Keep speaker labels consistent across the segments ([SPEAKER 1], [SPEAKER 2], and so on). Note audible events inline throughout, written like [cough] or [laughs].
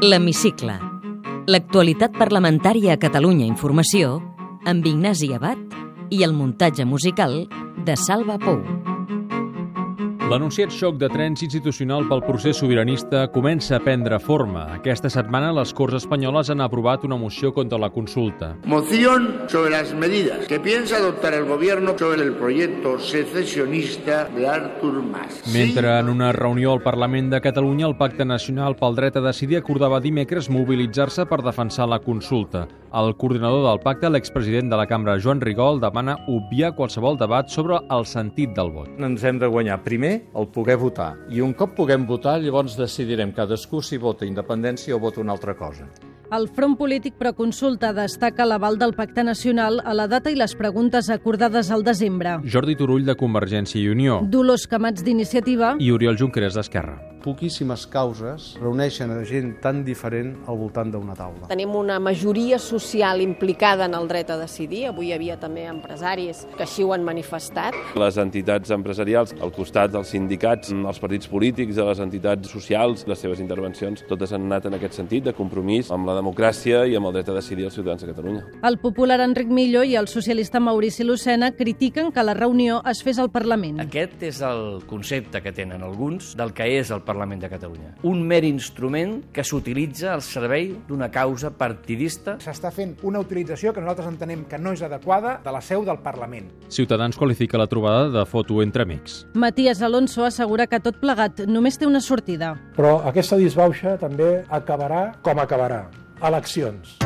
[SPEAKER 1] L'Hemicicle. L'actualitat parlamentària a Catalunya Informació amb Ignasi Abad i el muntatge musical de Salva Pou.
[SPEAKER 2] L'anunciat xoc de trens institucional pel procés sobiranista comença a prendre forma. Aquesta setmana les Corts Espanyoles han aprovat una moció contra la consulta.
[SPEAKER 3] Moción sobre las medidas que piensa adoptar el gobierno sobre el proyecto secesionista de Artur Mas.
[SPEAKER 2] Mentre en una reunió al Parlament de Catalunya el Pacte Nacional pel Dret a Decidir acordava dimecres mobilitzar-se per defensar la consulta. El coordinador del pacte, l'expresident de la cambra Joan Rigol, demana obviar qualsevol debat sobre el sentit del vot.
[SPEAKER 4] ens hem de guanyar primer el poder votar i un cop puguem votar llavors decidirem cadascú si vota independència o vota una altra cosa.
[SPEAKER 5] El Front Polític Proconsulta destaca l'aval del Pacte Nacional a la data i les preguntes acordades al desembre.
[SPEAKER 2] Jordi Turull de Convergència i Unió
[SPEAKER 5] Dolors Camats d'Iniciativa
[SPEAKER 2] i Oriol Junqueras d'Esquerra.
[SPEAKER 6] poquíssimes causes reuneixen a gent tan diferent al voltant d'una taula.
[SPEAKER 7] Tenim una majoria social implicada en el dret a decidir. Avui hi havia també empresaris que així ho han manifestat.
[SPEAKER 8] les entitats empresarials al costat dels sindicats, els partits polítics, de les entitats socials, les seves intervencions, totes han anat en aquest sentit de compromís amb la democràcia i amb el dret a decidir els ciutadans de Catalunya.
[SPEAKER 5] El popular Enric Millo i el socialista Maurici Lucena critiquen que la reunió es fes al Parlament.
[SPEAKER 9] Mm. Aquest és el concepte que tenen alguns del que és el Parlament de Catalunya. Un mer instrument que s'utilitza al servei d'una causa partidista.
[SPEAKER 10] s'està fent una utilització que nosaltres entenem que no és adequada de la seu del Parlament.
[SPEAKER 2] Ciutadans qualifica la trobada de foto entre amics.
[SPEAKER 5] Matías Alonso assegura que tot plegat només té una sortida.
[SPEAKER 11] Però aquesta disbauxa també acabarà com acabarà. Eleccions.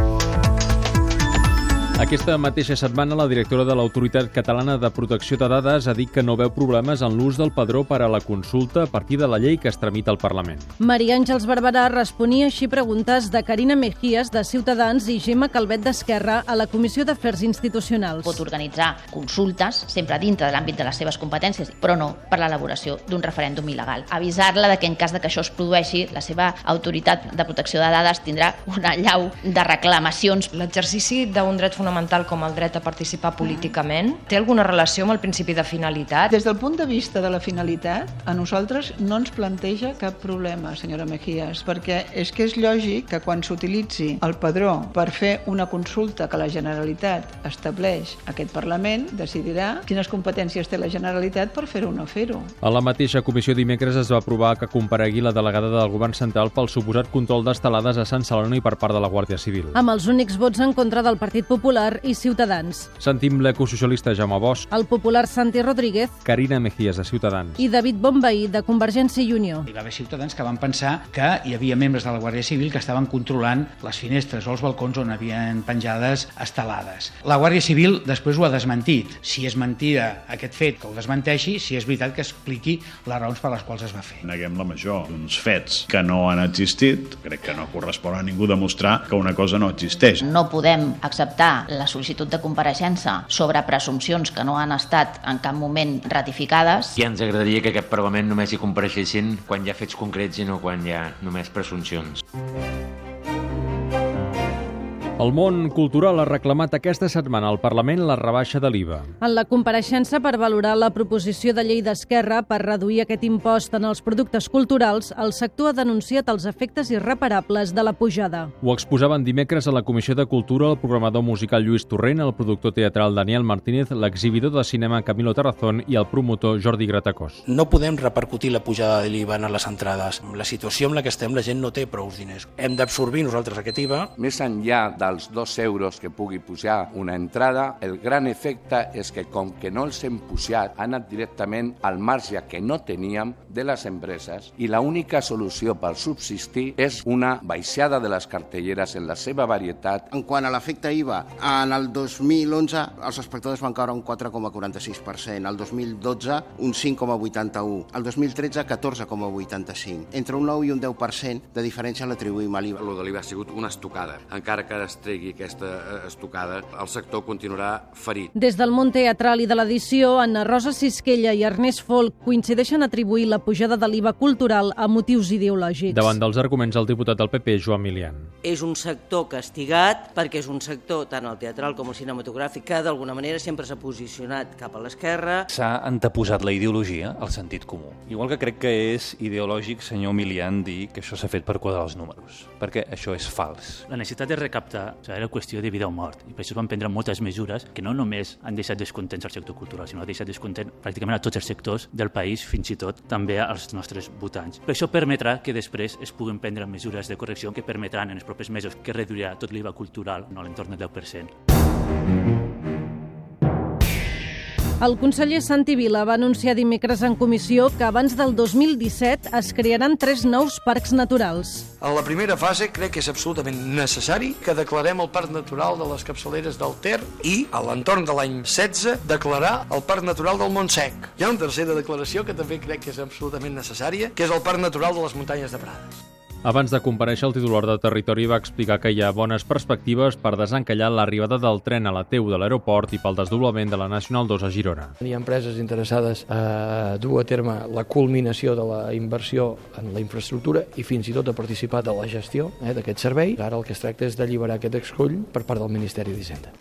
[SPEAKER 2] Aquesta mateixa setmana, la directora de l'Autoritat Catalana de Protecció de Dades ha dit que no veu problemes en l'ús del padró per a la consulta a partir de la llei que es tramita al Parlament.
[SPEAKER 5] Maria Àngels Barberà responia així preguntes de Carina Mejías, de Ciutadans, i Gemma Calvet d'Esquerra a la Comissió d'Afers Institucionals.
[SPEAKER 12] pot organitzar consultes, sempre dintre de l'àmbit de les seves competències, però no per l'elaboració d'un referèndum il·legal. Avisar-la de que en cas de que això es produeixi, la seva autoritat de protecció de dades tindrà una llau de reclamacions.
[SPEAKER 7] L'exercici d'un dret fonamental com el dret a participar políticament té alguna relació amb el principi de finalitat?
[SPEAKER 12] Des del punt de vista de la finalitat, a nosaltres no ens planteja cap problema, senyora Mejías, perquè és que és lògic que quan s'utilitzi el padró per fer una consulta que la Generalitat estableix aquest Parlament, decidirà quines competències té la Generalitat per fer-ho o no fer-ho.
[SPEAKER 2] A la mateixa comissió dimecres es va aprovar que comparegui la delegada del Govern Central pel suposat control d'estelades a Sant Celoni per part de la Guàrdia Civil.
[SPEAKER 5] amb els únics vots en contra del Partit Popular i Ciutadans.
[SPEAKER 2] Sentim l'ecosocialista Jaume Bosch,
[SPEAKER 5] El popular Santi Rodríguez
[SPEAKER 2] Carina Mejías de Ciutadans.
[SPEAKER 5] i David Bombaí, de Convergència i Unió.
[SPEAKER 10] Hi va haver ciutadans que van pensar que hi havia membres de la Guàrdia Civil que estaven controlant les finestres o els balcons on havien penjades estelades. La Guàrdia Civil després ho ha desmentit. Si és mentida aquest fet, que ho desmenteixi, si és veritat que expliqui les raons per les quals es va fer.
[SPEAKER 11] Neguem la major d'uns fets que no han existit. Crec que no correspon a ningú demostrar que una cosa no existeix.
[SPEAKER 12] No podem acceptar la sol·licitud de compareixença sobre presumpcions que no han estat en cap moment ratificades.
[SPEAKER 9] Ja ens agradaria que aquest Parlament només hi compareixessin quan hi ha fets concrets i no quan hi ha només presumpcions.
[SPEAKER 2] El món cultural ha reclamat aquesta setmana al Parlament la rebaixa de l'IVA.
[SPEAKER 5] En la compareixença per valorar la proposició de llei d'Esquerra per reduir aquest impost en els productes culturals, el sector ha denunciat els efectes irreparables de la pujada.
[SPEAKER 2] Ho exposaven dimecres a la Comissió de Cultura el programador musical Lluís Torrent, el productor teatral Daniel Martínez, l'exhibidor de cinema Camilo Tarazón i el promotor Jordi Gratacós.
[SPEAKER 10] No podem repercutir la pujada de l'IVA a les entrades. Amb la situació en la que estem, la gent no té prou diners. Hem d'absorbir nosaltres aquest IVA.
[SPEAKER 3] Més enllà dels dos euros que pugui pujar una entrada, el gran efecte és que, com que no els hem pujat, ha anat directament al marge que no teníem de les empreses i l'única solució per subsistir és una baixada de les cartelleres en la seva varietat
[SPEAKER 10] En quant a l'efecte IVA, en el 2011 els espectadors van caure un 4,46%, el 2012 un 5,81%, el 2013 14,85%. Entre un 9 i un 10% de diferència l'atribuïm a l'IVA.
[SPEAKER 3] Lo de l'IVA ha sigut una estocada, encara que es tregui aquesta eh, estocada, el sector continuarà ferit.
[SPEAKER 13] Des del món teatral i de l'edició, Anna Rosa Sisquella i Ernest Folk coincideixen a atribuir la pujada de l'IVA cultural a motius ideològics.
[SPEAKER 2] Davant dels arguments del diputat del PP, Joan Milian.
[SPEAKER 14] És un sector castigat perquè és un sector, tant el teatral com el cinematogràfic, que d'alguna manera sempre s'ha posicionat cap a l'esquerra.
[SPEAKER 8] S'ha anteposat la ideologia al sentit comú. Igual que crec que és ideològic, senyor Milian, dir que això s'ha fet per quadrar els números, perquè això és fals.
[SPEAKER 15] La necessitat de recaptar o sigui, era qüestió de vida o mort, i per això es van prendre moltes mesures que no només han deixat descontents al sector cultural, sinó que han deixat descontent pràcticament a tots els sectors del país, fins i tot també als nostres votants. Però això permetrà que després es puguin prendre mesures de correcció que permetran en els propers mesos que reduirà tot l'IVA cultural no, a l'entorn del 10%.
[SPEAKER 13] El conseller Santi Vila va anunciar dimecres en comissió que abans del 2017 es crearan tres nous parcs naturals.
[SPEAKER 10] En la primera fase crec que és absolutament necessari que declarem el Parc Natural de les Capçaleres del Ter i, a l'entorn de l'any 16, declarar el Parc Natural del Montsec. Hi ha una tercera declaració que també crec que és absolutament necessària, que és el Parc Natural de les Muntanyes de Prades.
[SPEAKER 2] Abans de compareixer, el titular de Territori va explicar que hi ha bones perspectives per desencallar l'arribada del tren a la Teu de l'aeroport i pel desdoblament de la Nacional 2 a Girona.
[SPEAKER 16] Hi ha empreses interessades a dur a terme la culminació de la inversió en la infraestructura i fins i tot a participar de la gestió eh, d'aquest servei. Ara el que es tracta és d'alliberar aquest escull per part del Ministeri d'Hisenda.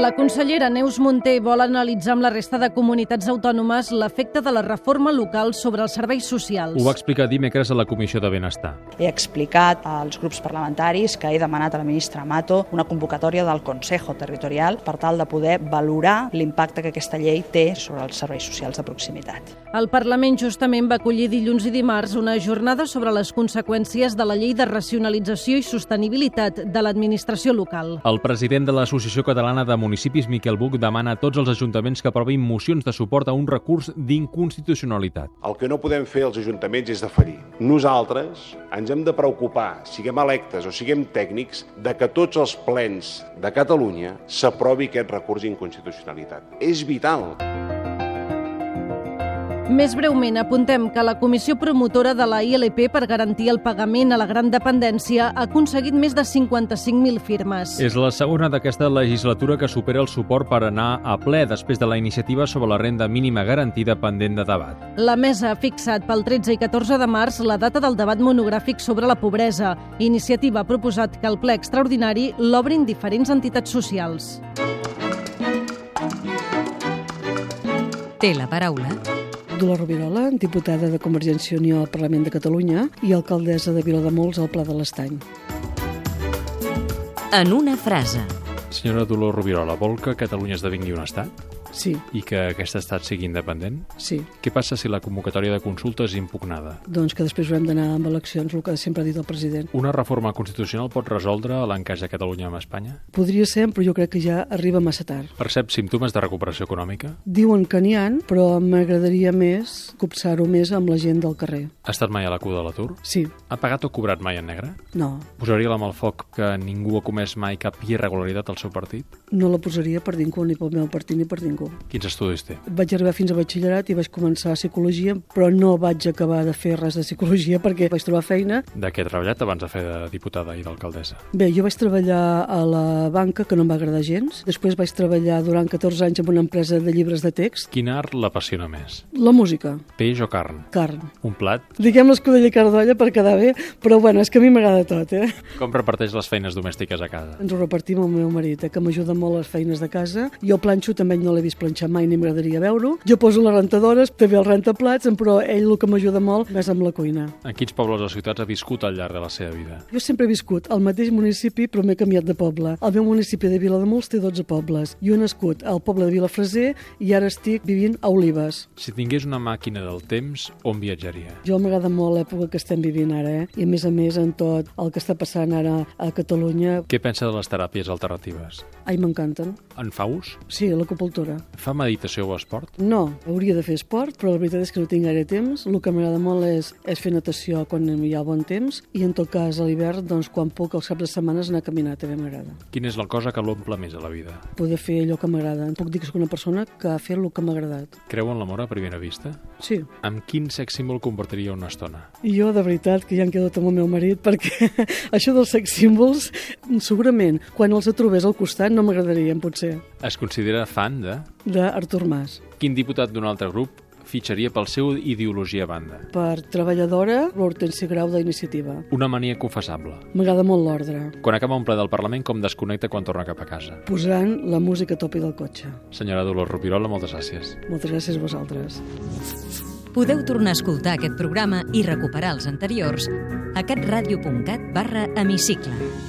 [SPEAKER 13] La consellera Neus Monté vol analitzar amb la resta de comunitats autònomes l'efecte de la reforma local sobre els serveis socials.
[SPEAKER 2] Ho va explicar dimecres a la Comissió de Benestar.
[SPEAKER 17] He explicat als grups parlamentaris que he demanat a la ministra Mato una convocatòria del Consejo Territorial per tal de poder valorar l'impacte que aquesta llei té sobre els serveis socials de proximitat.
[SPEAKER 13] El Parlament justament va acollir dilluns i dimarts una jornada sobre les conseqüències de la llei de racionalització i sostenibilitat de l'administració local.
[SPEAKER 2] El president de l'Associació Catalana de Municipis, Miquel Buch, demana a tots els ajuntaments que aprovin mocions de suport a un recurs d'inconstitucionalitat.
[SPEAKER 18] El que no podem fer els ajuntaments és deferir. Nosaltres ens hem de preocupar, siguem electes o siguem tècnics, de que tots els plens de Catalunya s'aprovi aquest recurs d'inconstitucionalitat. És vital.
[SPEAKER 13] Més breument, apuntem que la comissió promotora de la ILP per garantir el pagament a la gran dependència ha aconseguit més de 55.000 firmes.
[SPEAKER 2] És la segona d'aquesta legislatura que supera el suport per anar a ple després de la iniciativa sobre la renda mínima garantida pendent de debat.
[SPEAKER 13] La mesa ha fixat pel 13 i 14 de març la data del debat monogràfic sobre la pobresa. Iniciativa ha proposat que el ple extraordinari l'obrin diferents entitats socials.
[SPEAKER 1] Té la paraula
[SPEAKER 5] Dolors Rovirola, diputada de Convergència i Unió al Parlament de Catalunya i alcaldessa de Vilademols al Pla de l'Estany.
[SPEAKER 1] en una frase.
[SPEAKER 19] Senyora Dolors Rovirola, vol que Catalunya esdevingui un estat?
[SPEAKER 5] Sí.
[SPEAKER 19] I que aquest estat sigui independent?
[SPEAKER 5] Sí.
[SPEAKER 19] Què passa si la convocatòria de consulta és impugnada?
[SPEAKER 5] Doncs que després haurem d'anar amb eleccions, el que sempre ha dit el president.
[SPEAKER 19] Una reforma constitucional pot resoldre l'encaix de Catalunya amb Espanya?
[SPEAKER 5] Podria ser, però jo crec que ja arriba massa tard.
[SPEAKER 19] Percep símptomes de recuperació econòmica?
[SPEAKER 5] Diuen que n'hi han, però m'agradaria més copsar-ho més amb la gent del carrer.
[SPEAKER 19] Ha estat mai a la cua de l'atur?
[SPEAKER 5] Sí.
[SPEAKER 19] Ha pagat o cobrat mai en negre?
[SPEAKER 5] No,
[SPEAKER 2] Posaria la mà al foc que ningú ha comès mai cap irregularitat al seu partit?
[SPEAKER 5] no la posaria per ningú, ni pel meu partit ni per ningú.
[SPEAKER 2] Quins estudis té?
[SPEAKER 5] Vaig arribar fins a batxillerat i vaig començar psicologia, però no vaig acabar de fer res de psicologia perquè vaig trobar feina.
[SPEAKER 2] De què ha treballat abans de fer de diputada i d'alcaldessa?
[SPEAKER 5] Bé, jo vaig treballar a la banca, que no em va agradar gens. Després vaig treballar durant 14 anys en una empresa de llibres de text.
[SPEAKER 2] Quin art l'apassiona més?
[SPEAKER 5] La música,
[SPEAKER 2] Peix o carn?
[SPEAKER 5] carn.
[SPEAKER 2] Un plat?
[SPEAKER 5] Diguem l'escudella i cardolla per quedar bé, però bueno, és que a mi m'agrada tot, eh?
[SPEAKER 2] Com reparteix les feines domèstiques a casa?
[SPEAKER 5] Ens ho Doncs repartim amb el meu marit, eh, que m'ajuda molt a les feines de casa. Jo planxo, també no l'he vist planxar mai, ni m'agradaria veure-ho. Jo poso les rentadores, també el rentaplats, però ell el que m'ajuda molt és amb la cuina.
[SPEAKER 2] En quins pobles o ciutats ha viscut al llarg de la seva vida?
[SPEAKER 5] Jo sempre he viscut al mateix municipi, però m'he canviat de poble. El meu municipi de Vilademuls té 12 pobles. Jo he nascut al poble de Vilafreser i ara estic vivint a Olives.
[SPEAKER 2] Si tingués una màquina del temps, on viatjaria?
[SPEAKER 5] Jo m'agrada molt l'època que estem vivint ara, eh? I a més a més en tot el que està passant ara a Catalunya,
[SPEAKER 2] Què pensa de les teràpies alternatives?
[SPEAKER 5] ai, m'encanten.
[SPEAKER 2] En fa ús?
[SPEAKER 5] Sí, l'acupuntura.
[SPEAKER 2] Fa meditació o esport?
[SPEAKER 5] No, hauria de fer esport, però la veritat és que no tinc gaire temps. El que m'agrada molt és, és fer natació quan hi ha bon temps i, en tot cas, a l'hivern, doncs, quan puc, els caps de setmanes anar a caminar també m'agrada.
[SPEAKER 2] Quina és la cosa que l'omple més a la vida?
[SPEAKER 5] Poder fer allò que m'agrada. Puc dir que sóc una persona que ha fet el que m'ha agradat.
[SPEAKER 2] Creu en l'amor a primera vista?
[SPEAKER 5] Sí.
[SPEAKER 2] Amb quin sex símbol compartiria una estona?
[SPEAKER 5] I Jo, de veritat, que ja em quedo amb el meu marit, perquè [laughs] això dels sex símbols, segurament, quan els trobés al costat, no m'agradarien, potser,
[SPEAKER 2] Es considera fan de...
[SPEAKER 5] d'Artur Mas.
[SPEAKER 2] Quin diputat d'un altre grup fitxaria pel seu ideologia a banda?
[SPEAKER 5] Per treballadora, l'Hortensi Grau d'Iniciativa.
[SPEAKER 2] Una mania confessable.
[SPEAKER 5] M'agrada molt l'ordre,
[SPEAKER 2] Quan acaba un ple del Parlament, com desconnecta quan torna cap a casa?
[SPEAKER 5] posant la música a tope del cotxe.
[SPEAKER 2] Senyora Dolors Rupirola, moltes gràcies.
[SPEAKER 5] Moltes gràcies a vosaltres.
[SPEAKER 1] Podeu tornar a escoltar aquest programa i recuperar els anteriors a catradio.cat barra hemicicle.